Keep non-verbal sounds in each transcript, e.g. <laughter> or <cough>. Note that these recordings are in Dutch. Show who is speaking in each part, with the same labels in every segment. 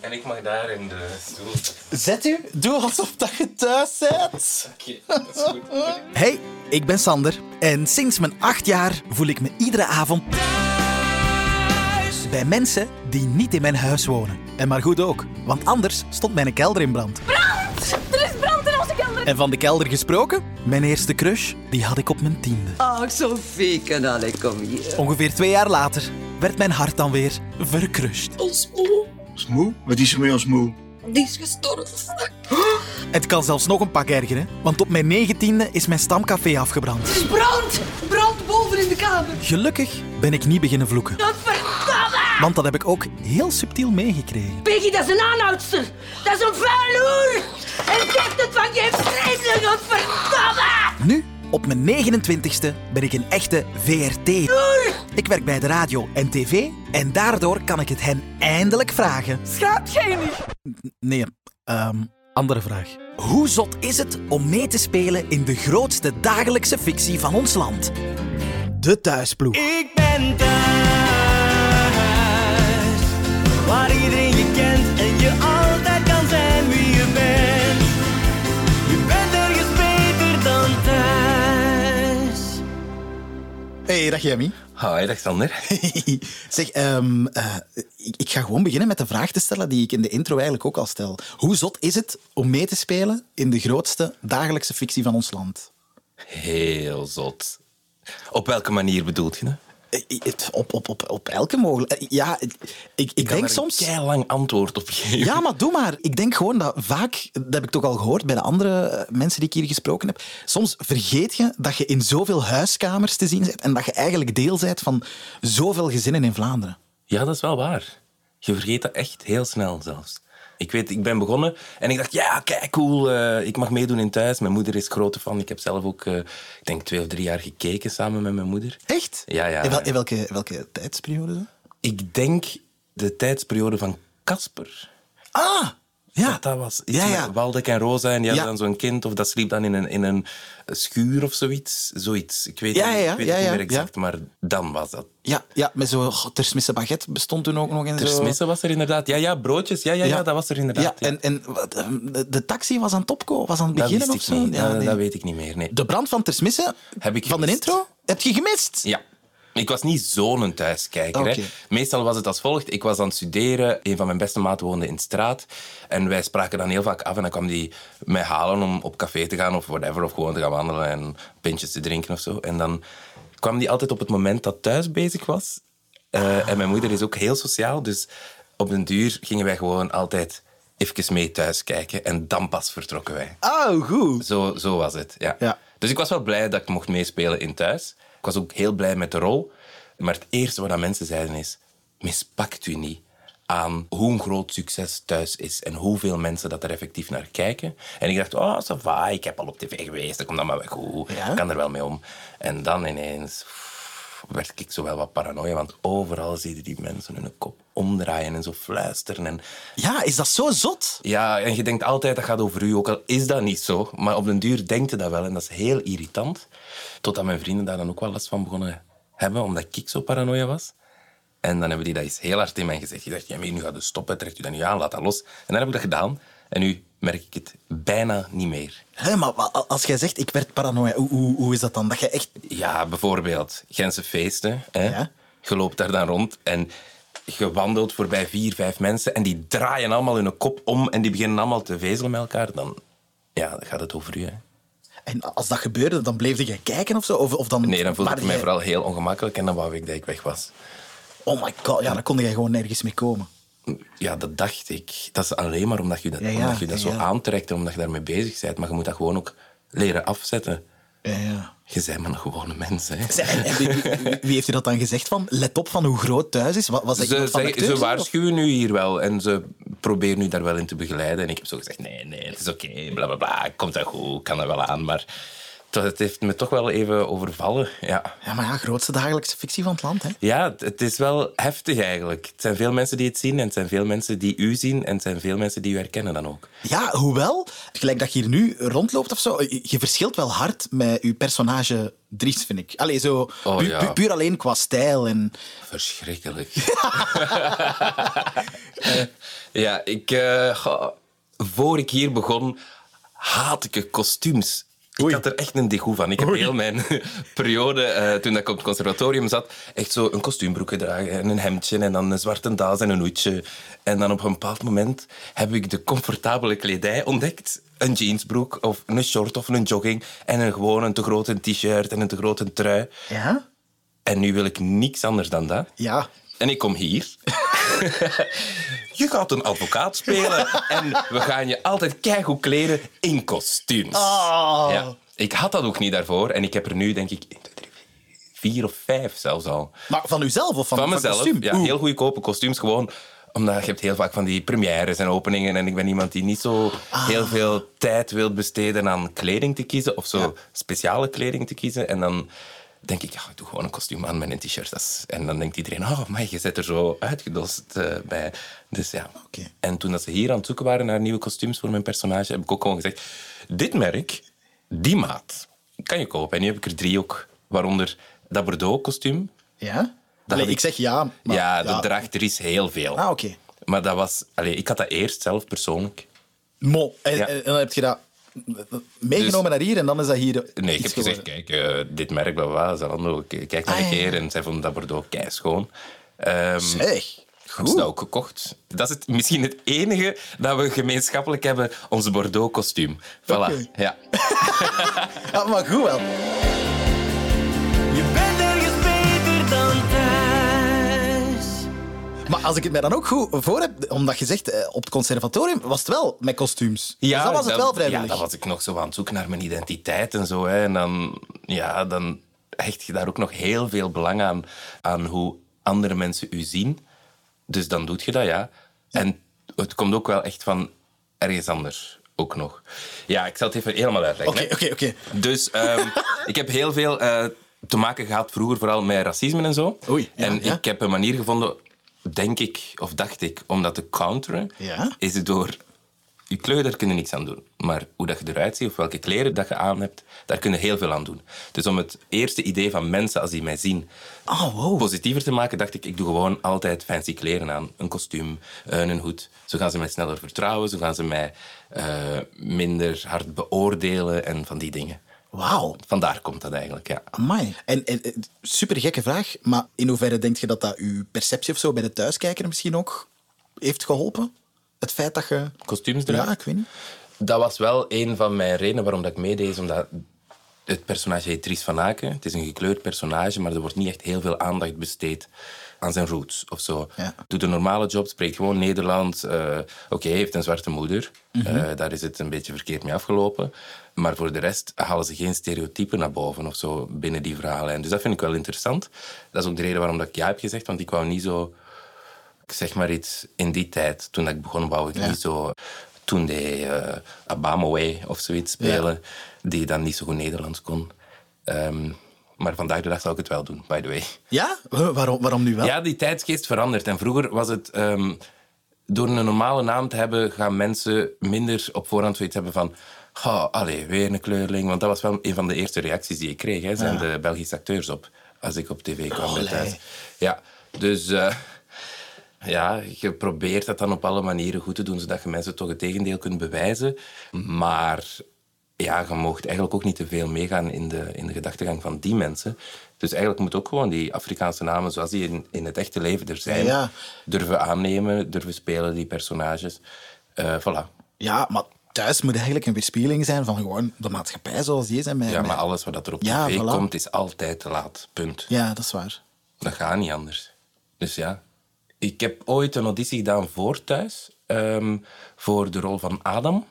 Speaker 1: En ik mag daar in de stoel.
Speaker 2: Zet u, doe alsof dat je thuis bent.
Speaker 1: Oké, dat is goed.
Speaker 2: Hey, ik ben Sander en sinds mijn acht jaar voel ik me iedere avond thuis bij mensen die niet in mijn huis wonen. En maar goed ook, want anders stond mijn kelder in brand.
Speaker 3: Er is brand in onze kelder.
Speaker 2: En van de kelder gesproken, mijn eerste crush, die had ik op mijn tiende.
Speaker 4: Ach, Sophie, kan alle, kom hier.
Speaker 2: Ongeveer twee jaar later werd mijn hart dan weer verkrust.
Speaker 3: Ons moe.
Speaker 5: Ons moe? Wat is er met ons moe?
Speaker 3: Die is gestorven.
Speaker 2: Het kan zelfs nog een pak ergeren, want op mijn negentiende is mijn stamcafé afgebrand.
Speaker 4: Er is brand! Brand boven in de kamer.
Speaker 2: Gelukkig ben ik niet beginnen vloeken,
Speaker 3: Dat verdomme!
Speaker 2: want dat heb ik ook heel subtiel meegekregen.
Speaker 3: Peggy, dat is een aanhoudster. Dat is een vuil hoer. En zegt het van je vreselijk, dat verdomme!
Speaker 2: Nu, op mijn 29ste, ben ik een echte VRT. Ik werk bij de radio en tv en daardoor kan ik het hen eindelijk vragen.
Speaker 4: Schaamt jij niet?
Speaker 2: Nee, ehm, andere vraag. Hoe zot is het om mee te spelen in de grootste dagelijkse fictie van ons land? De thuisploeg.
Speaker 6: Ik ben thuis, waar iedereen je kent en je altijd kan zijn wie je bent. Je bent ergens beter dan thuis.
Speaker 2: Hey, dag Jemmy.
Speaker 1: Hi, dag Sander.
Speaker 2: <laughs> zeg, ehm, eh, ik, ik ga gewoon beginnen met de vraag te stellen die ik in de intro eigenlijk ook al stel. Hoe zot is het om mee te spelen in de grootste dagelijkse fictie van ons land?
Speaker 1: Heel zot. Op welke manier bedoelt je dat?
Speaker 2: Eh, eh, het- Op, op, op, op elke mogelijkheid. Ja, ik, ik, ik denk soms...
Speaker 1: Een lang antwoord op geven.
Speaker 2: Ja, maar doe maar. Ik denk gewoon dat vaak, dat heb ik toch al gehoord bij de andere eh, mensen die ik hier gesproken heb, soms vergeet je dat je in zoveel huiskamers te zien bent en dat je eigenlijk deel bent van zoveel gezinnen in Vlaanderen.
Speaker 1: Ja, dat is wel waar. Je vergeet dat echt heel snel zelfs. Ik weet, ik ben begonnen en ik dacht, ja, kijk, cool, eh, ik mag meedoen in thuis. Mijn moeder is grote fan. Ik heb zelf ook, eh, ik denk, twee of drie jaar gekeken samen met mijn moeder.
Speaker 2: Echt?
Speaker 1: Ja, ja.
Speaker 2: In, wel- in welke, welke tijdsperiode? zo?
Speaker 1: Ik denk de tijdsperiode van Casper.
Speaker 2: Ah! Ja.
Speaker 1: Dat, dat was iets
Speaker 2: Ja, ja.
Speaker 1: met Waldek en Rosa en die hadden
Speaker 2: Ja.
Speaker 1: dan zo'n kind. Of dat sliep dan in een, in een schuur of zoiets. Zoiets. Ik weet,
Speaker 2: Ja,
Speaker 1: het-
Speaker 2: ja, ja,
Speaker 1: ik weet
Speaker 2: ja,
Speaker 1: het niet
Speaker 2: ja,
Speaker 1: meer exact, maar dan was dat.
Speaker 2: Ja, ja met zo'n oh, tersmisse baguette bestond toen ook nog in
Speaker 1: Ter
Speaker 2: zo...
Speaker 1: Smissen was er inderdaad. Ja, ja, broodjes. Ja, ja, ja, dat was er inderdaad.
Speaker 2: Ja, en, en wat, ehm, de- de taxi was aan het opkomen, was aan het
Speaker 1: dat
Speaker 2: beginnen
Speaker 1: wist ik
Speaker 2: of zo.
Speaker 1: niet.
Speaker 2: Ja,
Speaker 1: dat,
Speaker 2: nee.
Speaker 1: dat weet ik niet meer, nee.
Speaker 2: De brand van Tersmisse
Speaker 1: Heb ik
Speaker 2: van de
Speaker 1: gemist.
Speaker 2: intro heb je gemist.
Speaker 1: Ja. Ik was niet zo'n thuiskijker.
Speaker 2: Oké.
Speaker 1: Hè. Meestal was het als volgt. Ik was aan het studeren. Een van mijn beste maten woonde in de straat. En wij spraken dan heel vaak af. En dan kwam die mij halen om op café te gaan of whatever. Of gewoon te gaan wandelen en pintjes te drinken of zo. En dan kwam die altijd op het moment dat thuis bezig was. Eh, En mijn moeder is ook heel sociaal. Dus op den duur gingen wij gewoon altijd even mee thuis kijken. En dan pas vertrokken wij.
Speaker 2: Oh, goed.
Speaker 1: Zo, zo was het, ja.
Speaker 2: Ja.
Speaker 1: Dus ik was wel blij dat ik mocht meespelen in thuis. Ik was ook heel blij met de rol. Maar het eerste wat dat mensen zeiden is... Mispakt u niet aan hoe een groot succes thuis is en hoeveel mensen dat er effectief naar kijken. En ik dacht, oh, ça va, ik heb al op tv geweest, dat komt dan maar wel goed.
Speaker 2: Ja.
Speaker 1: Ik kan er wel mee om. En dan ineens pff, werd ik zo wel wat paranoia, want overal zie je die mensen hun kop omdraaien en zo fluisteren. En
Speaker 2: Ja, is dat zo zot?
Speaker 1: ja, en je denkt altijd dat gaat over u, ook al is dat niet zo. Maar op den duur denkt je dat wel en dat is heel irritant. Totdat mijn vrienden daar dan ook wel last van begonnen hebben, omdat ik zo paranoia was. En dan hebben die dat eens heel hard in mij gezegd. Die dacht, ja, maar nu gaat dus stoppen, trekt u dat nu aan, laat dat los. En dan heb ik dat gedaan en nu merk ik het bijna niet meer.
Speaker 2: Hé, maar wa- als jij zegt, ik werd paranoia, hoe, hoe, hoe is dat dan? Dat jij echt...
Speaker 1: Ja, bijvoorbeeld Gentse feesten. Hè?
Speaker 2: Ja.
Speaker 1: Je loopt daar dan rond en je wandelt voorbij vier, vijf mensen en die draaien allemaal hun kop om en die beginnen allemaal te vezelen met elkaar. Dan ja, dan gaat het over u. Hè?
Speaker 2: En als dat gebeurde, dan bleef jij kijken of zo? Of, of dan...
Speaker 1: Nee, dan voelde
Speaker 2: maar
Speaker 1: ik mij
Speaker 2: jij-
Speaker 1: vooral heel ongemakkelijk en dan wou ik dat ik weg was.
Speaker 2: Oh my god, ja, dan kon jij gewoon nergens meer komen.
Speaker 1: Ja, dat dacht ik. Dat is alleen maar omdat je dat,
Speaker 2: Ja, ja,
Speaker 1: omdat je dat
Speaker 2: ja,
Speaker 1: zo
Speaker 2: ja.
Speaker 1: aantrekt en omdat je daarmee bezig bent. Maar je moet dat gewoon ook leren afzetten.
Speaker 2: Ja, ja.
Speaker 1: Je bent maar een gewone mens. Hè.
Speaker 2: Zeg, en- en
Speaker 1: <laughs>
Speaker 2: wie, wie- wie heeft u dat dan gezegd van? Let op van hoe groot thuis is. Wa- Was dat
Speaker 1: Ze,
Speaker 2: iemand van
Speaker 1: ze,
Speaker 2: acteurs
Speaker 1: ze
Speaker 2: of-
Speaker 1: waarschuwen nu hier wel en ze proberen nu daar wel in te begeleiden. En ik heb zo gezegd, nee, nee, het is oké, bla bla bla, komt dat goed, ik kan dat wel aan. Maar toch- het heeft me toch wel even overvallen. Ja.
Speaker 2: Ja, maar ja, grootste dagelijkse fictie van het land, hè.
Speaker 1: Ja, het- het is wel heftig eigenlijk. Het zijn veel mensen die het zien en het zijn veel mensen die u zien en het zijn veel mensen die u herkennen dan ook.
Speaker 2: Ja, hoewel, gelijk dat je hier nu rondloopt of zo, je je verschilt wel hard met je personage Dries, vind ik. Allee, zo
Speaker 1: Oh,
Speaker 2: pu-
Speaker 1: ja.
Speaker 2: pu- puur alleen qua stijl. En...
Speaker 1: Verschrikkelijk. Eh, ja, ik... eh, goh, voor ik hier begon, haat ik de kostuums. Ik had er echt een degoe van. Ik heb heel mijn <laughs> periode, eh, toen ik op het conservatorium zat, echt zo een kostuumbroek gedragen en een hemdje en dan een zwarte daas en een hoedje. En dan op een bepaald moment heb ik de comfortabele kledij ontdekt. Een jeansbroek of een short of een jogging en een gewoon een te grote t-shirt en een te grote trui.
Speaker 2: Ja?
Speaker 1: En nu wil ik niks anders dan dat.
Speaker 2: Ja.
Speaker 1: En ik kom hier. <laughs> je gaat een advocaat spelen en we gaan je altijd keigoed kleden in kostuums.
Speaker 2: Oh.
Speaker 1: Ja. Ik had dat ook niet daarvoor en ik heb er nu, denk ik, 1, 2, 3, vier of vijf zelfs al.
Speaker 2: Maar van uzelf of van,
Speaker 1: Van mezelf.
Speaker 2: kostuum?
Speaker 1: ja,
Speaker 2: Oeh.
Speaker 1: heel goedkope kostuums gewoon omdat je hebt heel vaak van die premières en openingen en ik ben iemand die niet zo
Speaker 2: Ah.
Speaker 1: heel veel tijd wil besteden aan kleding te kiezen of zo speciale kleding te kiezen. En dan denk ik, ja, ik doe gewoon een kostuum aan met een t-shirt. Dat is- En dan denkt iedereen, oh maar je zit er zo uitgedost eh, bij. Dus ja.
Speaker 2: Oké.
Speaker 1: En toen dat ze hier aan het zoeken waren naar nieuwe kostuums voor mijn personage, heb ik ook gewoon gezegd, dit merk, die maat, kan je kopen. En nu heb ik er drie ook, waaronder dat Bordeaux-kostuum,
Speaker 2: Ja?
Speaker 1: dat
Speaker 2: Allee,
Speaker 1: had
Speaker 2: ik zeg ja, maar...
Speaker 1: ja, de draagt er is heel veel.
Speaker 2: Ah, oké.
Speaker 1: Maar dat was... Allee, ik had dat eerst zelf persoonlijk.
Speaker 2: Mo. En,
Speaker 1: Ja. Dus-
Speaker 2: en dan heb je dat meegenomen naar hier en dan is dat hier
Speaker 1: Nee, ik
Speaker 2: iets
Speaker 1: heb gezegd,
Speaker 2: geworden.
Speaker 1: kijk, eh, dit merk, bla, bla, bla, Zalando, k- kijk nog
Speaker 2: Ah,
Speaker 1: een
Speaker 2: ja, ja.
Speaker 1: keer. En zij vonden dat Bordeaux keischoon. Ehm
Speaker 2: Zeg,
Speaker 1: hebben ze
Speaker 2: goed.
Speaker 1: dat ook gekocht. Dat is het, misschien het enige dat we gemeenschappelijk hebben, ons Bordeaux-kostuum. Voilà,
Speaker 2: Oké.
Speaker 1: ja.
Speaker 2: Ja, maar goed wel.
Speaker 6: Je bent ergens beter dan thuis.
Speaker 2: Maar als ik het mij dan ook goed voor heb, omdat je zegt, eh, op het conservatorium was het wel met kostuums. dus dan was het wel vrijwillig.
Speaker 1: Ja, dan was ik nog zo aan het zoeken naar mijn identiteit en zo. Hè. En dan, ja, dan hecht je daar ook nog heel veel belang aan, aan hoe andere mensen u zien. Dus dan doe je dat, ja. En het komt ook wel echt van ergens anders, ook nog. Ja, ik zal het even helemaal uitleggen.
Speaker 2: Oké,
Speaker 1: hè.
Speaker 2: oké, oké.
Speaker 1: Dus ehm,
Speaker 2: <laughs>
Speaker 1: ik heb heel veel eh, te maken gehad vroeger, vooral met racisme en zo.
Speaker 2: Oei, ja,
Speaker 1: en
Speaker 2: ja.
Speaker 1: ik heb een manier gevonden, denk ik, of dacht ik, om dat te counteren,
Speaker 2: Ja.
Speaker 1: is het door... Je kleur, daar kun je niks aan doen. Maar hoe dat je eruit ziet of welke kleren dat je aan hebt, daar kun je heel veel aan doen. Dus om het eerste idee van mensen als die mij zien
Speaker 2: Oh, wow.
Speaker 1: positiever te maken, dacht ik, ik doe gewoon altijd fancy kleren aan. Een kostuum, eh, een hoed. Zo gaan ze mij sneller vertrouwen, zo gaan ze mij eh, minder hard beoordelen en van die dingen.
Speaker 2: Wauw.
Speaker 1: Vandaar komt dat eigenlijk, ja.
Speaker 2: Amai. En, en super gekke vraag, maar in hoeverre denk je dat dat uw perceptie of zo bij de thuiskijker misschien ook heeft geholpen? Het feit dat je...
Speaker 1: Kostuums dragen.
Speaker 2: Ja, ik weet niet.
Speaker 1: Dat was wel een van mijn redenen waarom dat ik meedeed. Omdat het personage heet Dries van Aken. Het is een gekleurd personage, maar er wordt niet echt heel veel aandacht besteed aan zijn roots of zo.
Speaker 2: Ja.
Speaker 1: Doet een normale job, spreekt gewoon Nederlands. Eh, Oké, heeft een zwarte moeder. Eh, daar is het een beetje verkeerd mee afgelopen. Maar voor de rest halen ze geen stereotypen naar boven of zo binnen die verhaallijn. Dus dat vind ik wel interessant. Dat is ook de reden waarom dat ik ja heb gezegd, want ik wou niet zo ik zeg maar iets, in die tijd, toen ik begon, wou ik niet zo... Toen deed eh Obama Way of zoiets spelen, die dan niet zo goed Nederlands kon. Ehm, maar vandaag de dag zou ik het wel doen, by the way.
Speaker 2: Ja? Huh, Waarom, waarom nu wel?
Speaker 1: Ja, die tijdsgeest verandert. En vroeger was het... ehm, door een normale naam te hebben, gaan mensen minder op voorhand zoiets hebben van... Oh, allee, weer een kleurling. Want dat was wel een van de eerste reacties die ik kreeg. Hè, zijn de Belgische acteurs op, als ik op tv kwam bij
Speaker 2: Allee.
Speaker 1: thuis. Ja, dus... eh, ja, je probeert dat dan op alle manieren goed te doen, zodat je mensen toch het tegendeel kunt bewijzen. Maar ja, je mocht eigenlijk ook niet te veel meegaan in de, in de gedachtegang van die mensen. Dus eigenlijk moet ook gewoon die Afrikaanse namen, zoals die in, in het echte leven er zijn,
Speaker 2: Ja.
Speaker 1: durven aannemen, durven spelen, die personages. Eh, voilà.
Speaker 2: Ja, maar thuis moet eigenlijk een weerspiegeling zijn van gewoon de maatschappij zoals die is. En mij,
Speaker 1: Ja, maar
Speaker 2: mij-
Speaker 1: alles wat er op
Speaker 2: Ja,
Speaker 1: tv
Speaker 2: voilà.
Speaker 1: komt, is altijd te laat. Punt.
Speaker 2: ja, dat is waar.
Speaker 1: Dat gaat niet anders. Dus ja. Ik heb ooit een auditie gedaan voor thuis, ehm, voor de rol van Adam.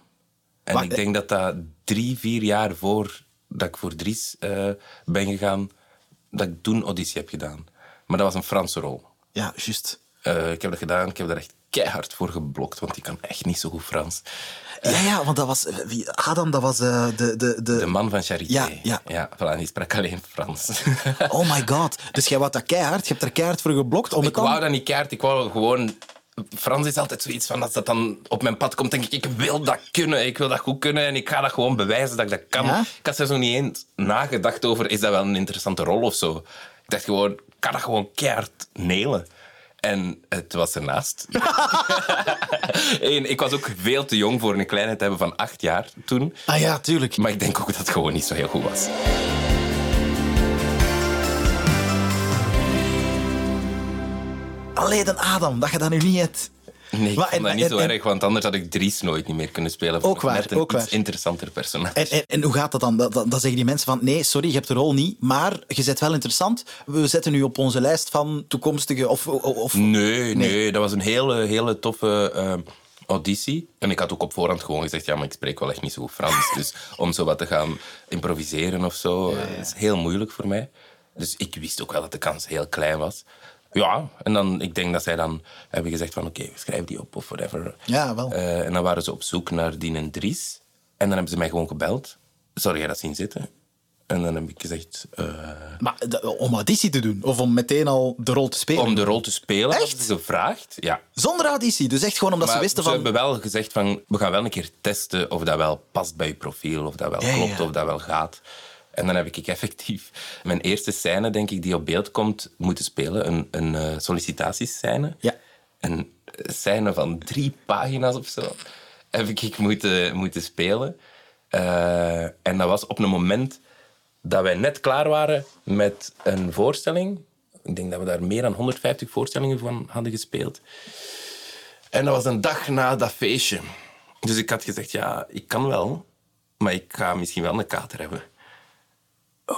Speaker 1: En
Speaker 2: Wacht,
Speaker 1: ik
Speaker 2: eh.
Speaker 1: denk dat dat drie, vier jaar voor dat ik voor Dries eh, ben gegaan, dat ik toen auditie heb gedaan. Maar dat was een Franse rol.
Speaker 2: Ja, juist.
Speaker 1: Eh, ik heb dat gedaan, ik heb daar echt keihard voor geblokt, want die kan echt niet zo goed Frans.
Speaker 2: Ja, ja, want dat was... eh, wie- Adam, dat was eh, de... de,
Speaker 1: De
Speaker 2: de
Speaker 1: man van Charité.
Speaker 2: Ja, ja.
Speaker 1: voilà, die sprak alleen Frans.
Speaker 2: oh
Speaker 1: <laughs>
Speaker 2: my god. Dus jij wat dat keihard. Je hebt er keihard voor geblokt. Om
Speaker 1: ik
Speaker 2: het dan...
Speaker 1: wou dat niet keihard, ik wou gewoon... Frans is altijd zoiets van, als dat dan op mijn pad komt, denk ik, ik wil dat kunnen, ik wil dat goed kunnen en ik ga dat gewoon bewijzen dat ik dat kan.
Speaker 2: Ja?
Speaker 1: Ik had er zo niet eens nagedacht over, is dat wel een interessante rol of zo? Ik dacht gewoon, ik kan dat gewoon keihard nelen. En het was
Speaker 2: <laughs>
Speaker 1: ernaast. Eén, ik was ook veel te jong voor een kleinheid te hebben van acht jaar toen.
Speaker 2: Ah ja, tuurlijk.
Speaker 1: Maar ik denk ook dat het gewoon niet zo heel goed was.
Speaker 2: Alleen dan Adam, dat je dat nu niet hebt.
Speaker 1: Nee, ik
Speaker 2: Maar-
Speaker 1: vond dat
Speaker 2: en-
Speaker 1: niet zo
Speaker 2: en- en-
Speaker 1: erg, want anders had ik Dries nooit niet meer kunnen spelen. Vond
Speaker 2: Ook
Speaker 1: ik
Speaker 2: waar,
Speaker 1: net een
Speaker 2: ook
Speaker 1: iets
Speaker 2: waar.
Speaker 1: interessanter personage.
Speaker 2: En, en, en hoe gaat dat dan? Dan, dan? dan zeggen die mensen van, nee, sorry, je hebt de rol niet, maar je zet wel interessant. We zetten u op onze lijst van toekomstige... Of, of, of-
Speaker 1: Nee, nee, dat was een hele, hele toffe ehm, auditie. En ik had ook op voorhand gewoon gezegd, ja, maar ik spreek wel echt niet zo goed Frans. dus om zo wat te gaan improviseren of zo, eh, is heel moeilijk voor mij. Dus ik wist ook wel dat de kans heel klein was. Ja, en dan, ik denk dat zij dan hebben gezegd van, oké, schrijf die op of whatever.
Speaker 2: Ja, wel.
Speaker 1: Eh, en dan waren ze op zoek naar Dien en Dries. En dan hebben ze mij gewoon gebeld. Zou jij dat zien zitten? En dan heb ik gezegd, eh,
Speaker 2: Maar de- om auditie te doen, of om meteen al de rol te spelen.
Speaker 1: om de rol te spelen.
Speaker 2: Echt?
Speaker 1: hadden ze gevraagd, ja.
Speaker 2: Zonder auditie, dus echt gewoon omdat ze
Speaker 1: Maar
Speaker 2: wisten van...
Speaker 1: hebben wel gezegd van, we gaan wel een keer testen of dat wel past bij je profiel, of dat wel
Speaker 2: Ja,
Speaker 1: klopt,
Speaker 2: ja.
Speaker 1: of dat wel gaat. En dan heb ik effectief mijn eerste scène, denk ik, die op beeld komt, moeten spelen. Een, een eh, sollicitatiescène.
Speaker 2: Ja.
Speaker 1: Een eh, scène van drie pagina's of zo. Heb ik, ik moeten, moeten spelen. Eh, en dat was op een moment dat wij net klaar waren met een voorstelling. Ik denk dat we daar meer dan 150 voorstellingen van hadden gespeeld. En dat was een dag na dat feestje. Dus ik had gezegd, ja, ik kan wel, maar ik ga misschien wel een kater hebben.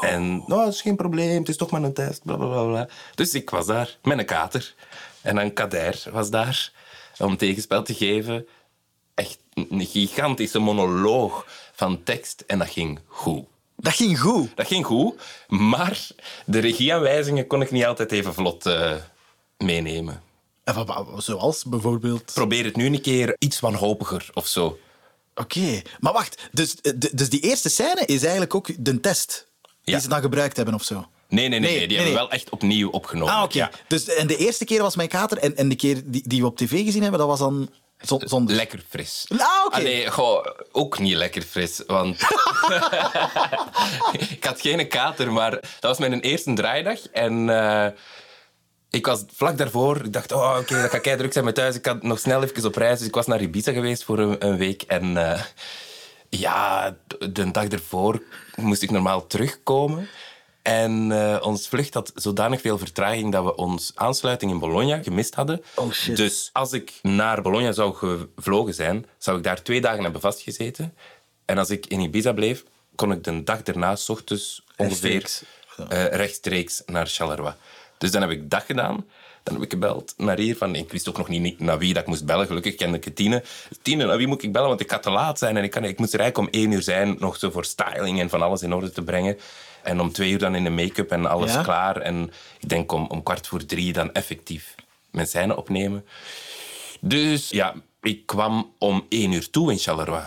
Speaker 1: En, nou, dat is geen probleem, het is toch maar een test, bla, bla, bla, bla. Dus ik was daar, met een kater. En dan Kader was daar, om tegenspel te geven. Echt een gigantische monoloog van tekst. En dat ging goed.
Speaker 2: Dat ging goed.
Speaker 1: Dat ging goed, maar de regieaanwijzingen kon ik niet altijd even vlot eh, meenemen.
Speaker 2: En wa- wa- Zoals bijvoorbeeld...
Speaker 1: Probeer het nu een keer iets wanhopiger of zo.
Speaker 2: Oké, maar wacht. Dus, eh, d- dus die eerste scène is eigenlijk ook de test die
Speaker 1: Ja.
Speaker 2: ze dan gebruikt hebben of zo?
Speaker 1: Nee, nee, nee,
Speaker 2: Nee,
Speaker 1: nee, die
Speaker 2: nee,
Speaker 1: hebben we
Speaker 2: nee.
Speaker 1: wel echt opnieuw opgenomen.
Speaker 2: Ah, oké. Dus, en de eerste keer was mijn kater en, en de keer die, die we op tv gezien hebben, dat was dan zon- zonder...
Speaker 1: Lekker fris.
Speaker 2: Ah, oké.
Speaker 1: Allee, goh, ook niet lekker fris, want... <laughs> ik had geen kater, maar dat was mijn eerste draaidag. En eh, ik was vlak daarvoor, ik dacht, oh, oké, dat gaat druk zijn met thuis. Ik had nog snel even op reis, dus ik was naar Ibiza geweest voor een, een week. En eh, ja, d- de dag ervoor moest ik normaal terugkomen. En eh ons vlucht had zodanig veel vertraging dat we ons aansluiting in Bologna gemist hadden.
Speaker 2: Oh, shit.
Speaker 1: Dus als ik naar Bologna zou gevlogen zijn, zou ik daar twee dagen hebben vastgezeten. En als ik in Ibiza bleef, kon ik de dag daarna, s ochtends ongeveer,
Speaker 2: Rechtstreeks.
Speaker 1: rechtstreeks, Eh, rechtstreeks naar Charleroi. Dus dan heb ik dat gedaan. Dan heb ik gebeld naar hier. Van, ik wist ook nog niet naar wie dat ik moest bellen. Gelukkig kende ik Tine. Tine, naar wie moet ik bellen? Want ik ga te laat zijn. En ik, kan, ik moest er eigenlijk om één uur zijn. Nog zo voor styling en van alles in orde te brengen. En om twee uur dan in de make-up en alles
Speaker 2: Ja.
Speaker 1: klaar. En ik denk om, om kwart voor drie dan effectief mijn scène opnemen. Dus ja, ik kwam om één uur toe in Charleroi.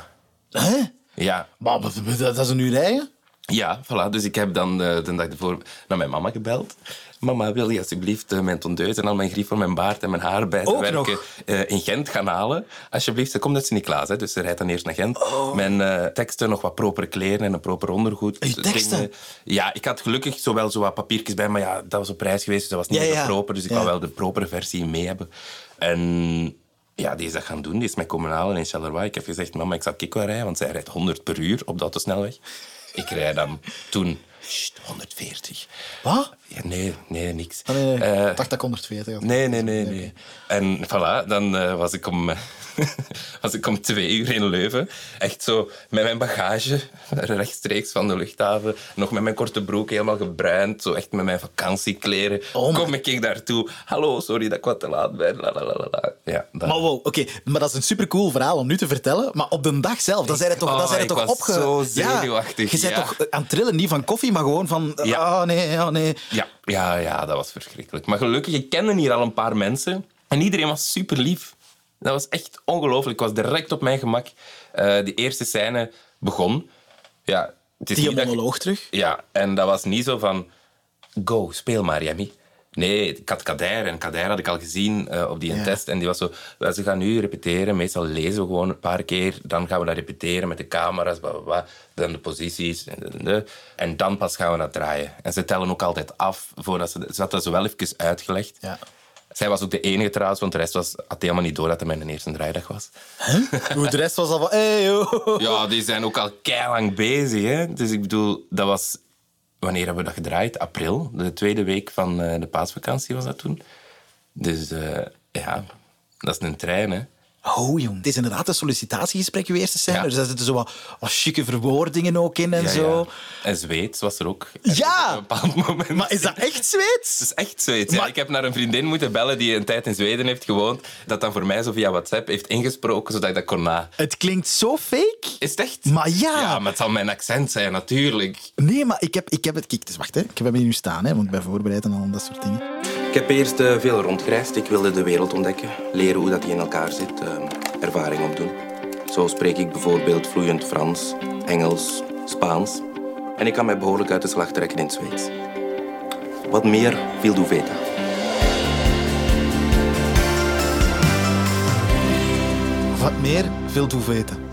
Speaker 2: Hè?
Speaker 1: Ja,
Speaker 2: Maar wat- wat- dat is een uur rijden?
Speaker 1: ja, voilà. Dus ik heb dan eh, de dag ervoor naar mijn mama gebeld. Mama, wil je alsjeblieft eh, mijn tondeus en al mijn grief van mijn baard en mijn haar bij te
Speaker 2: Ook
Speaker 1: werken
Speaker 2: nog?
Speaker 1: eh, in Gent gaan halen? Alsjeblieft, ze komt uit Sint-Niklaas, hè, dus ze rijdt dan eerst naar Gent.
Speaker 2: Oh.
Speaker 1: Mijn eh, teksten, nog wat proper kleren en een proper ondergoed. Dus
Speaker 2: Je teksten?
Speaker 1: Dingen. Ja, ik had gelukkig zowel zo wat papiertjes bij, maar ja, dat was op prijs geweest, dus dat was niet
Speaker 2: Ja,
Speaker 1: meer
Speaker 2: ja.
Speaker 1: proper. Dus ik
Speaker 2: Ja.
Speaker 1: wou wel de propere versie mee hebben. En ja, die is dat gaan doen. Die is met komen halen in Charleroi. Ik heb gezegd, mama, ik zal Kiko rijden, want zij rijdt 100 per uur op de autosnelweg. Ik rijd dan toen sst, 140.
Speaker 2: Wat?
Speaker 1: Ja, nee, nee, niks.
Speaker 2: Ah, nee, nee.
Speaker 1: Eh,
Speaker 2: ik dacht dat ik 140 had.
Speaker 1: Nee, nee, nee, nee. En voilà, dan eh, was, ik om, <laughs> was ik om twee uur in Leuven. Echt zo met mijn bagage, rechtstreeks van de luchthaven. Nog met mijn korte broek, helemaal gebruind. Zo echt met mijn vakantiekleren.
Speaker 2: Oh, maar-
Speaker 1: Kom ik hier daartoe. Hallo, sorry dat ik wat te laat ben. La, la, la, la, la. Ja, dat.
Speaker 2: Maar wow, oké. Maar dat is een supercool verhaal om nu te vertellen. Maar op de dag zelf, dan zijn het toch, dan
Speaker 1: oh,
Speaker 2: zijn het
Speaker 1: ik
Speaker 2: toch
Speaker 1: was
Speaker 2: opge...
Speaker 1: zo zenuwachtig,
Speaker 2: je bent
Speaker 1: ja.
Speaker 2: toch eh, aan het trillen, niet van koffie, maar gewoon van...
Speaker 1: Ja.
Speaker 2: Oh nee, oh nee.
Speaker 1: Ja, ja, ja, dat was verschrikkelijk. Maar gelukkig, ik kende hier al een paar mensen. En iedereen was super lief. Dat was echt ongelooflijk. Ik was direct op mijn gemak. Eh die eerste scène begon. Ja, het is
Speaker 2: Die
Speaker 1: niet dat je-
Speaker 2: monoloog terug.
Speaker 1: ja, en dat was niet zo van... Go, speel maar, Jemmy. Nee, ik had Kader en Kader had ik al gezien eh, op die
Speaker 2: Ja.
Speaker 1: test. En die was zo, "Wel, ze gaan nu repeteren. Meestal lezen we gewoon een paar keer. Dan gaan we dat repeteren met de camera's, bla, bla, bla. dan de posities. En, en, en, en dan pas gaan we dat draaien. En ze tellen ook altijd af. Voordat ze, ze had dat zo wel even uitgelegd.
Speaker 2: Ja.
Speaker 1: Zij was ook de enige trouwens, want de rest was, had helemaal niet door dat het mijn eerste draaidag was.
Speaker 2: Hoe de rest was al van... Hey, yo.
Speaker 1: Ja, die zijn ook al lang bezig. Hè? Dus ik bedoel, dat was... Wanneer hebben we dat gedraaid? April. De tweede week van eh, de paasvakantie was dat toen. Dus eh, ja, dat is een trein, hè.
Speaker 2: Oh, jong. Het is inderdaad een sollicitatiegesprek, uw eerste scène.
Speaker 1: Ja.
Speaker 2: Dus daar zitten zo wat, wat chique verwoordingen ook in en
Speaker 1: Ja,
Speaker 2: zo.
Speaker 1: ja. En Zweeds was er ook.
Speaker 2: Ja!
Speaker 1: Op een bepaald moment.
Speaker 2: Maar is dat echt
Speaker 1: Het
Speaker 2: Zweeds?
Speaker 1: is echt Zweeds. Ja,
Speaker 2: Maar-
Speaker 1: ik heb naar een vriendin moeten bellen die een tijd in Zweden heeft gewoond. Dat dan voor mij zo via WhatsApp heeft ingesproken, zodat ik dat kon na.
Speaker 2: Het klinkt zo fake.
Speaker 1: Is het echt?
Speaker 2: Maar ja.
Speaker 1: Ja, maar het zal mijn accent zijn, natuurlijk.
Speaker 2: Nee, maar ik heb, ik heb het... Kijk, dus wacht, hè. ik heb hem hier nu staan, hè, want ik ben voorbereid en al dat soort dingen.
Speaker 1: Ik heb eerst eh, veel rondgereisd. Ik wilde de wereld ontdekken, leren hoe dat die in elkaar zit, eh, ervaring opdoen. Zo spreek ik bijvoorbeeld vloeiend Frans, Engels, Spaans. En ik kan mij behoorlijk uit de slag trekken in het Zweeds. Wat meer viel doe veta.
Speaker 2: Wat meer, veel toeveten.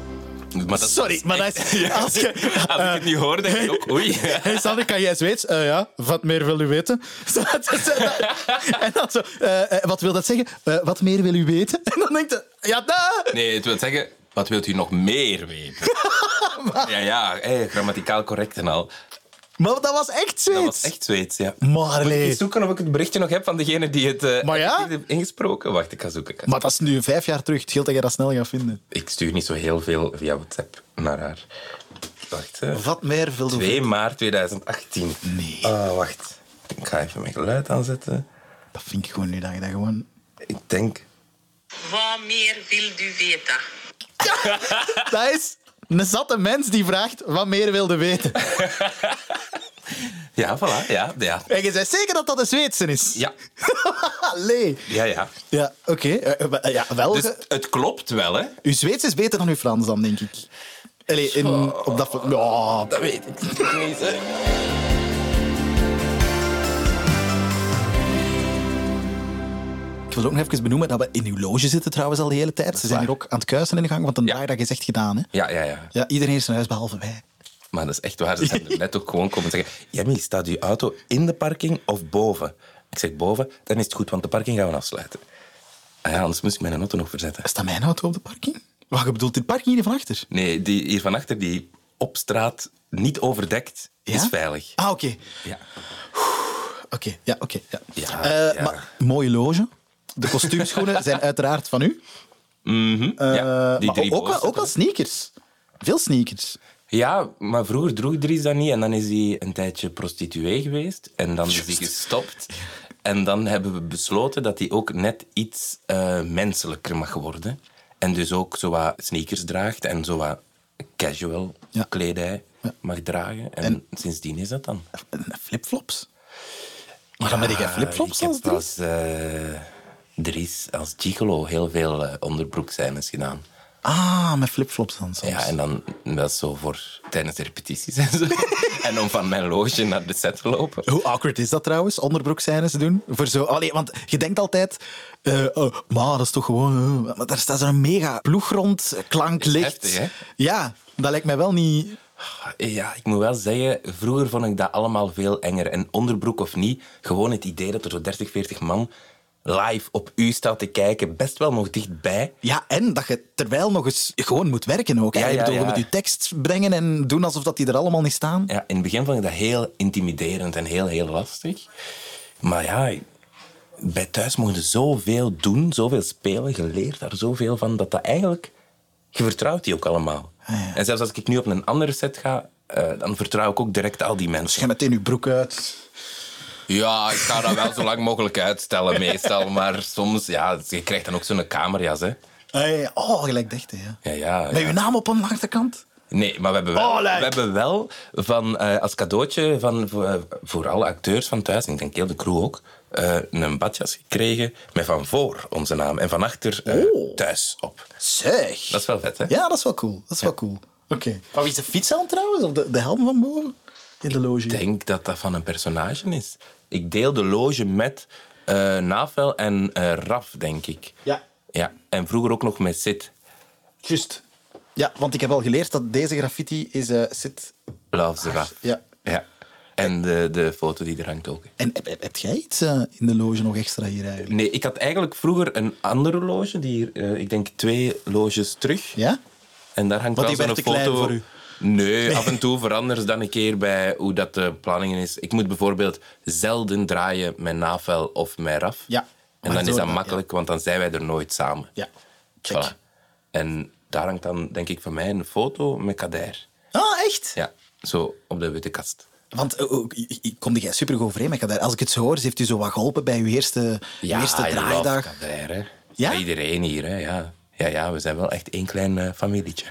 Speaker 2: Sorry, Eh. maar dat is... Als je, <laughs>
Speaker 1: Als ik het niet hoor, denk ik ook oei.
Speaker 2: Hey Sander, kan jij Zweeds? Eh, ja, wat meer wil u weten? <laughs> Zo, dat is- en dan zo, eh, eh, wat wil dat zeggen? Eh, wat meer wil u weten? <laughs> En dan denkt je, ja, da.
Speaker 1: Nee, het wil zeggen, wat wilt u nog meer weten?
Speaker 2: <laughs>
Speaker 1: Ja, ja, hey, grammaticaal correct en al.
Speaker 2: Maar dat was echt Zweeds.
Speaker 1: Dat was echt Zweeds, ja.
Speaker 2: Maar
Speaker 1: Ik
Speaker 2: allee.
Speaker 1: zoeken of ik het berichtje nog heb van degene die het eh,
Speaker 2: Maar ja?
Speaker 1: effectief heeft ingesproken. Wacht, ik ga zoeken. Ik ga
Speaker 2: Maar dat is nu vijf jaar terug. Het scheelt dat je dat snel gaat vinden.
Speaker 1: Ik stuur niet zo heel veel via WhatsApp naar haar. Wacht, hè.
Speaker 2: Wat meer wil u
Speaker 1: 2 maart 2018. Nee. Ah, wacht. Ik ga even mijn geluid aanzetten.
Speaker 2: Dat vind ik gewoon nu dat je dat gewoon...
Speaker 1: Ik denk...
Speaker 7: Wat meer wil u weten?
Speaker 2: Dat is een zatte mens die vraagt wat meer wilde weten.
Speaker 1: Ja, voilà. Ja, ja.
Speaker 2: En je bent zeker dat dat een Zweedse is?
Speaker 1: Ja,
Speaker 2: Allee.
Speaker 1: ja, ja.
Speaker 2: Ja, oké. Eh, eh, maar, ja, wel...
Speaker 1: Dus
Speaker 2: ge-
Speaker 1: het klopt wel, hè.
Speaker 2: Uw Zweeds is beter dan uw Frans dan, denk ik. Allee, in, op dat... vlak- Ja,
Speaker 1: Dat weet ik niet, hè.
Speaker 2: Ik wil ook nog even benoemen dat we in uw loge zitten trouwens al de hele tijd. Ze zijn
Speaker 1: waar.
Speaker 2: hier ook aan het kuisen in de gang, want een
Speaker 1: Ja.
Speaker 2: draaidag is echt gedaan. Hè?
Speaker 1: Ja, ja, ja.
Speaker 2: Ja, iedereen is naar huis behalve wij.
Speaker 1: Maar dat is echt waar. Ze zijn er net ook gewoon komen zeggen... Jemmy, staat uw auto in de parking of boven? Ik zeg boven, dan is het goed, want de parking gaan we afsluiten. Ah ja, anders moest ik mijn auto nog verzetten.
Speaker 2: Staat mijn auto op de parking? Wat, je bedoelt dit parking hier van achter?
Speaker 1: Nee, die hier van achter, die op straat niet overdekt, is
Speaker 2: Ja?
Speaker 1: veilig.
Speaker 2: Ah, oké.
Speaker 1: Ja.
Speaker 2: Oké, ja, oké. ja.
Speaker 1: Ja,
Speaker 2: Eh,
Speaker 1: ja.
Speaker 2: Maar, mooie loge. De kostuumschoenen zijn uiteraard van u.
Speaker 1: Ja,
Speaker 2: Eh, maar ook, wel,
Speaker 1: bovenste
Speaker 2: ook wel
Speaker 1: toch?
Speaker 2: sneakers. Veel sneakers.
Speaker 1: Ja, maar vroeger droeg Dries dat niet en dan is hij een tijdje prostituee geweest en dan is hij gestopt. En dan hebben we besloten dat hij ook net iets eh, menselijker mag worden. En dus ook zo wat sneakers draagt en zo wat casual
Speaker 2: Ja.
Speaker 1: kledij mag dragen. En, sindsdien is dat dan.
Speaker 2: En Eh, Flipflops. Maar dan ben ik flipflops
Speaker 1: Ah, Eh, ik
Speaker 2: als
Speaker 1: heb
Speaker 2: Dries.
Speaker 1: als eh, Dries, als gigolo, heel veel eh, onderbroekscènes gedaan.
Speaker 2: Ah, met flipflops dan soms.
Speaker 1: Ja, en dan dat is zo voor tijdens de repetities en zo. <laughs> en om van mijn loge naar de set te lopen.
Speaker 2: Hoe awkward is dat trouwens, onderbroekscènes doen? Voor zo, allee, want je denkt altijd, eh, oh, maar dat is toch gewoon... eh, maar daar staat zo'n mega ploeg rond, klank, licht.
Speaker 1: heftig, hè?
Speaker 2: Ja, dat lijkt mij wel niet...
Speaker 1: Ja, ik moet wel zeggen, vroeger vond ik dat allemaal veel enger. En onderbroek of niet, gewoon het idee dat er zo 30, 40 man live op u staat te kijken, best wel nog dichtbij.
Speaker 2: Ja, en dat je terwijl nog eens gewoon moet werken ook. hè.
Speaker 1: Ja,
Speaker 2: Je
Speaker 1: ja,
Speaker 2: bedoelt, je
Speaker 1: ja.
Speaker 2: moet je tekst brengen en doen alsof dat die er allemaal niet staan.
Speaker 1: Ja, in het begin vond ik dat heel intimiderend en heel, heel lastig. Maar ja, bij thuis mocht je zoveel doen, zoveel spelen. Je leert daar zoveel van, dat dat eigenlijk... Je vertrouwt die ook allemaal. En zelfs als ik nu op een andere set ga, eh, dan vertrouw ik ook direct al die mensen.
Speaker 2: Dus je meteen je broek uit.
Speaker 1: Ja, ik ga dat wel zo lang mogelijk uitstellen meestal. Maar soms, ja, je krijgt dan ook zo'n kamerjas, hè.
Speaker 2: Hey, oh, gelijk dicht, hè, ja.
Speaker 1: Ja, ja,
Speaker 2: Met
Speaker 1: ja.
Speaker 2: je naam op een achterkant.
Speaker 1: Nee, maar we hebben wel,
Speaker 2: Oh,
Speaker 1: we
Speaker 2: leuk.
Speaker 1: hebben eh, wel van, eh, als cadeautje van voor, voor alle acteurs van thuis, en ik denk heel de crew ook, eh, een badjas gekregen met van voor onze naam en van achter eh,
Speaker 2: Oh.
Speaker 1: thuis op.
Speaker 2: Zeg.
Speaker 1: Dat is wel vet, hè?
Speaker 2: Ja, dat is wel cool. Dat is wel cool. Oké. Maar wie is de fietshelm trouwens? Of de, de helm van boven? In de loge.
Speaker 1: Ik denk dat dat van een personage is. Ik deel de loge met eh Navel en eh, Raf, denk ik.
Speaker 2: Ja.
Speaker 1: Ja, en vroeger ook nog met Sid.
Speaker 2: Juist. Ja, want ik heb al geleerd dat deze graffiti is, eh, zit...
Speaker 1: Loves the Raf.
Speaker 2: Ja.
Speaker 1: ja. En de, de foto die er hangt ook.
Speaker 2: En heb, heb- heb jij iets eh, in de loge nog extra hier eigenlijk?
Speaker 1: Nee, ik had eigenlijk vroeger een andere loge, die hier, eh, ik denk twee loges terug.
Speaker 2: Ja?
Speaker 1: En daar hangt wel
Speaker 2: Want
Speaker 1: zo'n
Speaker 2: die werd te klein
Speaker 1: foto...
Speaker 2: voor u.
Speaker 1: Nee, af en toe verandert dan een keer bij hoe dat de planning is. Ik moet bijvoorbeeld zelden draaien met Navel of met Raf.
Speaker 2: Ja,
Speaker 1: En
Speaker 2: maar
Speaker 1: dan is
Speaker 2: zo
Speaker 1: dat
Speaker 2: dan,
Speaker 1: makkelijk, want dan zijn wij er nooit samen.
Speaker 2: Ja.
Speaker 1: Voilà. En daar hangt dan, denk ik, van mij een foto met Kader.
Speaker 2: Ah, echt?
Speaker 1: Ja, zo op de witte kast.
Speaker 2: Want eh, ook, i- i- komde jij super goed overeen met Kader. Als ik het zo hoor, ze heeft u zo wat geholpen bij uw eerste, uw eerste
Speaker 1: I love
Speaker 2: draaidag.
Speaker 1: Kader, hè.
Speaker 2: Ja?
Speaker 1: Bij Iedereen hier, hè. Ja. Ja, ja, we zijn wel echt één klein eh, familietje.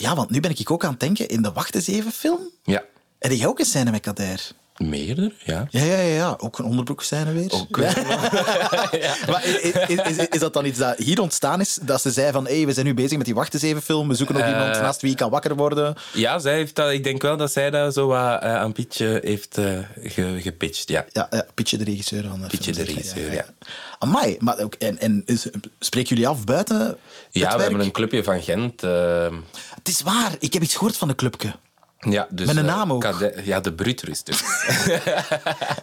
Speaker 2: Ja, want nu ben ik ook aan het denken in de Wacht eens even film.
Speaker 1: Ja.
Speaker 2: Heb jij ook een scène met Kader?
Speaker 1: Meerdere, ja.
Speaker 2: Ja, ja, ja, ja. Ook een onderbroekscène weer. Ja. <laughs> Maar i- i- i- is, is dat dan iets dat hier ontstaan is? Dat ze zei van, hé, we zijn nu bezig met die Wacht eens even film. We zoeken nog iemand
Speaker 1: Eh.
Speaker 2: naast wie ik kan wakker worden.
Speaker 1: Ja, zij heeft dat, ik denk wel dat zij dat zo wat, eh, aan Pietje heeft eh, ge- gepitcht. Ja.
Speaker 2: Ja, ja, Pietje de regisseur van de
Speaker 1: Pietje
Speaker 2: film.
Speaker 1: de regisseur, ja.
Speaker 2: Amai, maar ook, en, en is- spreken jullie af buiten het
Speaker 1: Ja, we
Speaker 2: werk?
Speaker 1: hebben een clubje van Gent. eh,
Speaker 2: Het is waar, ik heb iets gehoord van de clubke.
Speaker 1: ja, dus,
Speaker 2: Met een
Speaker 1: eh,
Speaker 2: naam ook.
Speaker 1: Kader- ja, de Brutrusters.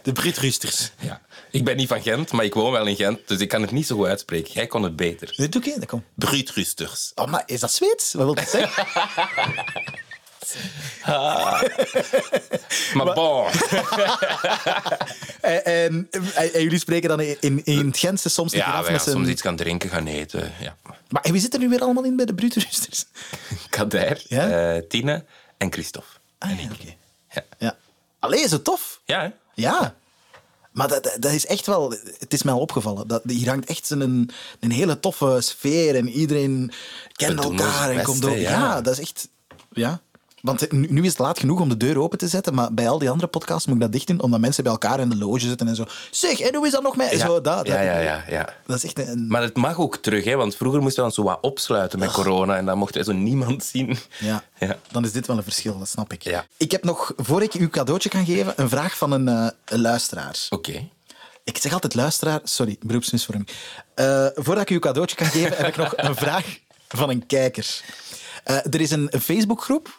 Speaker 2: De Britrusters.
Speaker 1: <laughs> ja. Ik ben niet van Gent, maar ik woon wel in Gent, dus ik kan het niet zo goed uitspreken. Jij kon het beter.
Speaker 2: Dit doe ik dat kom.
Speaker 1: Brutrusters.
Speaker 2: Oh, maar is dat Zweeds? Wat wil dat <laughs> zeggen?
Speaker 1: Maar
Speaker 2: <laughs>
Speaker 1: bon,
Speaker 2: en, en, en- en eh, jullie spreken dan in, in, in het Gentse soms niet
Speaker 1: ja,
Speaker 2: af
Speaker 1: wij
Speaker 2: met
Speaker 1: gaan
Speaker 2: z'n...
Speaker 1: soms iets gaan drinken, gaan eten. Ja.
Speaker 2: Maar en wie zit er nu weer allemaal in bij de Britrusters?
Speaker 1: Kader,
Speaker 2: Ja?
Speaker 1: eh, Tine en Christophe.
Speaker 2: Ah, ja, oké.
Speaker 1: Ja,
Speaker 2: Ja. Allee, is het tof?
Speaker 1: ja hè?
Speaker 2: Ja. Maar dat, dat- dat is echt wel... Het is mij al opgevallen. Dat, hier hangt echt een, een hele toffe sfeer en iedereen kent
Speaker 1: We doen
Speaker 2: elkaar
Speaker 1: ons
Speaker 2: en
Speaker 1: best,
Speaker 2: komt
Speaker 1: hè,
Speaker 2: ook... Ja.
Speaker 1: ja.
Speaker 2: dat is echt... Ja. Want nu, nu is het laat genoeg om de deur open te zetten, maar bij al die andere podcasts moet ik dat dicht doen, omdat mensen bij elkaar in de loge zitten en zo. Zeg, en hoe is dat nog met...
Speaker 1: Ja.
Speaker 2: Zo, dat, dat,
Speaker 1: ja, ja, ja, ja.
Speaker 2: Dat is echt een...
Speaker 1: Maar het mag ook terug, hè? want vroeger moesten we ons zo wat opsluiten met corona en dan mocht zo niemand zien.
Speaker 2: Oh. Ja.
Speaker 1: ja.
Speaker 2: dan is dit wel een verschil, dat snap ik.
Speaker 1: Ja.
Speaker 2: Ik heb nog, voor ik u cadeautje kan geven, een vraag van een, eh, een luisteraar.
Speaker 1: Oké.
Speaker 2: Ik zeg altijd luisteraar, sorry, beroepsmisvorming. Eh, voordat ik u een cadeautje kan geven, heb ik nog een vraag van een kijker. Eh, er is een Facebookgroep.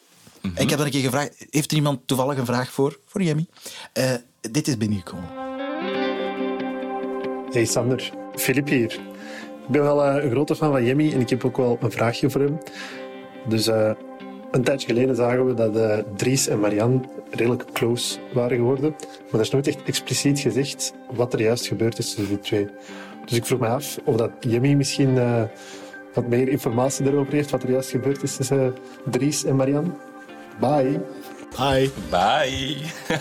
Speaker 2: En ik heb dan een keer gevraagd, heeft er iemand toevallig een vraag voor? Voor Jemmy. Eh, dit is binnengekomen.
Speaker 8: Hey Sander, Filip hier. Ik ben wel eh, een grote fan van Jimmy en ik heb ook wel een vraagje voor hem. Dus eh, een tijdje geleden zagen we dat eh, Dries en Marianne redelijk close waren geworden. Maar er is nooit echt expliciet gezegd wat er juist gebeurd is tussen die twee. Dus ik vroeg me af of dat Jimmy misschien eh, wat meer informatie daarover heeft wat er juist gebeurd is tussen eh, Dries en Marianne. Bye!
Speaker 2: Hi.
Speaker 1: Bye. <laughs>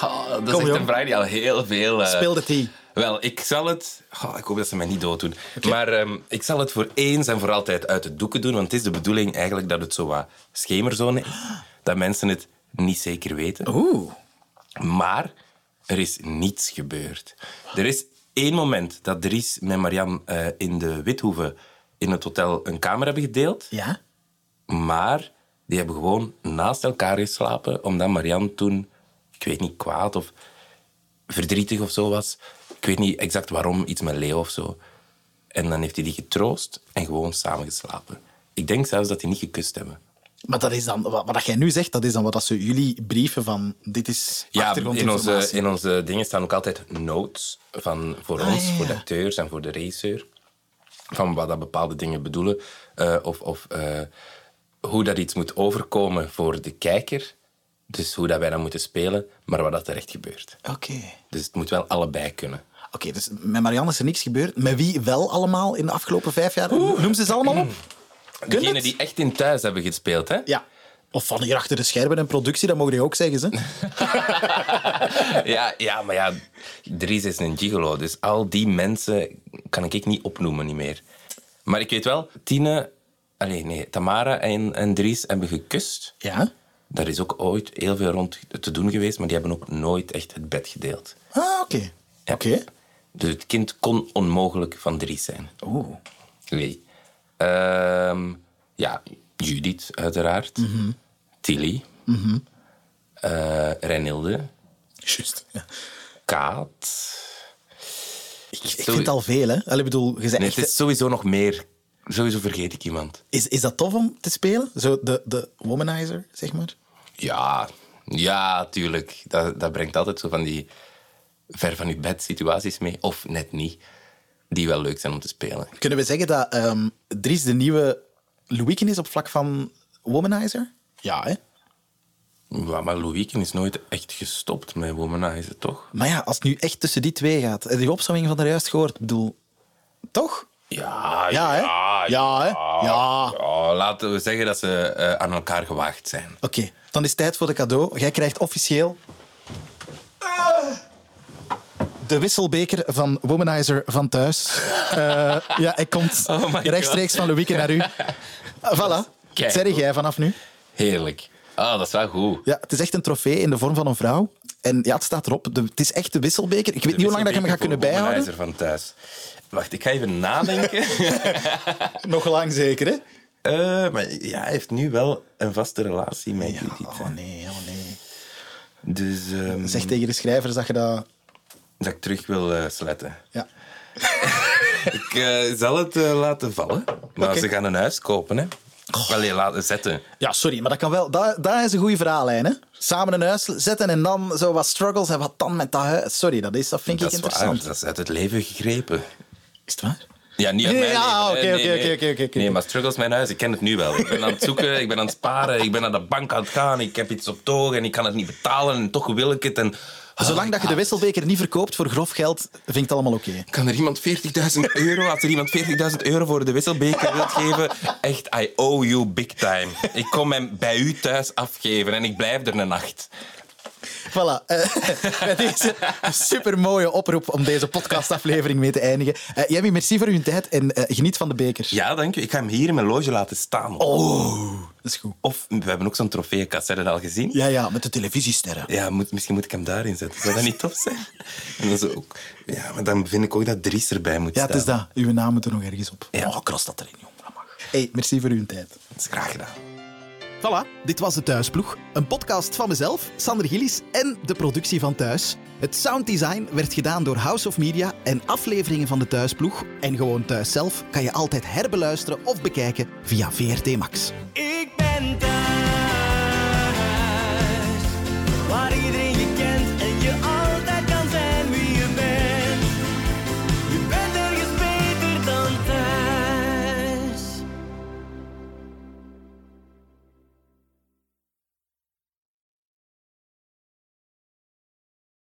Speaker 1: Ah, dat is echt
Speaker 2: jong.
Speaker 1: een vraag die al heel veel... eh,
Speaker 2: Speelde die?
Speaker 1: Wel, ik zal het... Ah, ik hoop dat ze mij niet dood doen. Maar ehm, ik zal het voor eens en voor altijd uit de doeken doen, want het is de bedoeling eigenlijk dat het zo wat schemerzone is. Dat mensen het niet zeker weten.
Speaker 2: Oeh.
Speaker 1: Maar er is niets gebeurd. Er is één moment dat Dries met Marianne eh, in de Withoeve in het hotel een kamer hebben gedeeld.
Speaker 2: Ja?
Speaker 1: Maar die hebben gewoon naast elkaar geslapen, omdat Marianne toen, ik weet niet, kwaad of verdrietig of zo was. Ik weet niet exact waarom, iets met Leo of zo. En dan heeft hij die getroost en gewoon samen geslapen. Ik denk zelfs dat die niet gekust hebben.
Speaker 2: Maar dat is dan, wat, wat jij nu zegt, dat is dan wat dat ze jullie brieven van dit is
Speaker 1: Ja, in onze,
Speaker 2: achtergrondinformatie.
Speaker 1: in onze dingen staan ook altijd notes van, voor
Speaker 2: Ah,
Speaker 1: ons,
Speaker 2: ja, ja.
Speaker 1: voor de acteurs en voor de regisseur. Van wat dat bepaalde dingen bedoelen. eh, of of eh, hoe dat iets moet overkomen voor de kijker. Dus hoe dat wij dat moeten spelen, maar wat dat er echt gebeurt.
Speaker 2: Oké.
Speaker 1: Dus het moet wel allebei kunnen.
Speaker 2: Oké, dus met Marianne is er niks gebeurd. Met wie wel allemaal in de afgelopen vijf jaar? Noem ze ze allemaal op? Kunnen
Speaker 1: Degenen
Speaker 2: het?
Speaker 1: die echt in thuis hebben gespeeld, hè?
Speaker 2: Ja. Of van hier achter de schermen en productie, dat mogen die ook zeggen. Ze.
Speaker 1: ja, ja, maar ja, Dries is een gigolo, dus al die mensen kan ik niet opnoemen niet meer. Maar ik weet wel, Tine, allee, nee, Tamara en, en Dries hebben gekust.
Speaker 2: Ja.
Speaker 1: Daar is ook ooit heel veel rond te doen geweest, maar die hebben ook nooit echt het bed gedeeld.
Speaker 2: Ah, oké.
Speaker 1: Ja.
Speaker 2: Oké.
Speaker 1: Dus het kind kon onmogelijk van Dries zijn.
Speaker 2: Oeh.
Speaker 1: Nee. Ehm, ja, Judith, uiteraard.
Speaker 2: Mhm.
Speaker 1: Tilly. Eh, Renilde.
Speaker 2: Juist. Ja.
Speaker 1: Kaat.
Speaker 2: Ik, ik
Speaker 1: Sorry.
Speaker 2: vind het al veel, hè? Allee, ik bedoel, je zei
Speaker 1: Nee,
Speaker 2: echt,
Speaker 1: het is sowieso nog meer. Sowieso vergeet ik iemand.
Speaker 2: is, is dat tof om te spelen? Zo de, de womanizer, zeg maar.
Speaker 1: Ja, ja, tuurlijk. Dat, dat brengt altijd zo van die ver van je bed situaties mee. Of net niet. Die wel leuk zijn om te spelen.
Speaker 2: Kunnen we zeggen dat ehm, Dries de nieuwe Louieken is op vlak van womanizer? Ja, hè?
Speaker 1: Ja, maar Louieken is nooit echt gestopt met Womanizer, toch?
Speaker 2: Maar ja, als het nu echt tussen die twee gaat, heb je die opzomming van de juist gehoord? Ik bedoel, toch?
Speaker 1: Ja,
Speaker 2: Ja, hè? Ja, hè? Ja.
Speaker 1: Ja, Laten we zeggen dat ze eh, aan elkaar gewaagd zijn.
Speaker 2: Oké, dan is het tijd voor de cadeau. Jij krijgt officieel... De wisselbeker van Womanizer van thuis. Eh, ja, hij <laughs> komt
Speaker 1: Oh my
Speaker 2: rechtstreeks van Louieke naar <laughs> u. Voilà,
Speaker 1: keigoed.
Speaker 2: zeg jij vanaf nu.
Speaker 1: Heerlijk. Ah, dat is wel goed.
Speaker 2: Ja, het is echt een trofee in de vorm van een vrouw. En ja, het staat erop. De- het is echt de wisselbeker. Ik weet niet hoe lang dat je hem gaat kunnen bijhouden.
Speaker 1: Womanizer van thuis. Wacht, ik ga even nadenken.
Speaker 2: Nog lang zeker, hè?
Speaker 1: Eh, maar ja, hij heeft nu wel een vaste relatie met Judith. hè.
Speaker 2: Oh nee, oh nee.
Speaker 1: Dus ehm,
Speaker 2: Zeg tegen de schrijvers dat je dat...
Speaker 1: dat ik terug wil eh, sletten.
Speaker 2: Ja.
Speaker 1: <laughs> Ik eh, zal het eh, laten vallen. Maar
Speaker 2: Oké.
Speaker 1: ze gaan een huis kopen, hè. Allee, laten zetten.
Speaker 2: Ja, sorry, maar dat kan wel. Dat, dat is een goede verhaallijn, hè? Samen een huis zetten en dan zo wat struggles en wat dan met dat huis. Sorry, dat, is, dat vind
Speaker 1: Dat
Speaker 2: ik
Speaker 1: is waar,
Speaker 2: interessant.
Speaker 1: dat is uit het leven gegrepen.
Speaker 2: Is het waar?
Speaker 1: Ja, niet uit mijn
Speaker 2: Ja,
Speaker 1: leven, hè.
Speaker 2: oké,
Speaker 1: Nee,
Speaker 2: oké,
Speaker 1: nee.
Speaker 2: oké, oké, oké, oké.
Speaker 1: Nee, maar struggles mijn huis, ik ken het nu wel. Ik ben aan het zoeken, ik ben aan het sparen, ik ben naar de bank aan het gaan, ik heb iets op toog en ik kan het niet betalen en toch wil ik het. En...
Speaker 2: Zolang dat je de wisselbeker niet verkoopt voor grof geld, vind ik het allemaal oké.
Speaker 1: Kan er iemand 40.000 euro, als er iemand 40.000 euro voor de wisselbeker wilt geven, echt, I owe you big time. Ik kom hem bij u thuis afgeven en ik blijf er een nacht.
Speaker 2: Voilà. <laughs> eh, met deze supermooie oproep om deze podcastaflevering mee te eindigen. Eh Jemmy, merci voor uw tijd en eh, geniet van de beker.
Speaker 1: Ja, dank u. Ik ga hem hier in mijn loge laten staan.
Speaker 2: Oh, Dat is goed.
Speaker 1: Of, we hebben ook zo'n trofeeënkast, heb je dat al gezien?
Speaker 2: Ja, ja, met de televisiesterren.
Speaker 1: Ja, moet, misschien moet ik hem daarin zetten. Zou dat niet tof <laughs> zijn? En dan zo ook, ja, maar dan vind ik ook dat Dries erbij moet
Speaker 2: Ja,
Speaker 1: staan.
Speaker 2: het is dat. Uw naam moet er nog ergens op.
Speaker 1: Ja.
Speaker 2: Oh, kras dat erin, jong. Dat mag. Hey, merci voor uw tijd.
Speaker 1: Dat is graag gedaan.
Speaker 9: Voilà, dit was de Thuisploeg. Een podcast van mezelf, Sander Gillis en de productie van Thuis. Het sounddesign werd gedaan door House of Media en afleveringen van de Thuisploeg en gewoon Thuis zelf kan je altijd herbeluisteren of bekijken via VRT Max.
Speaker 6: Ik ben thuis.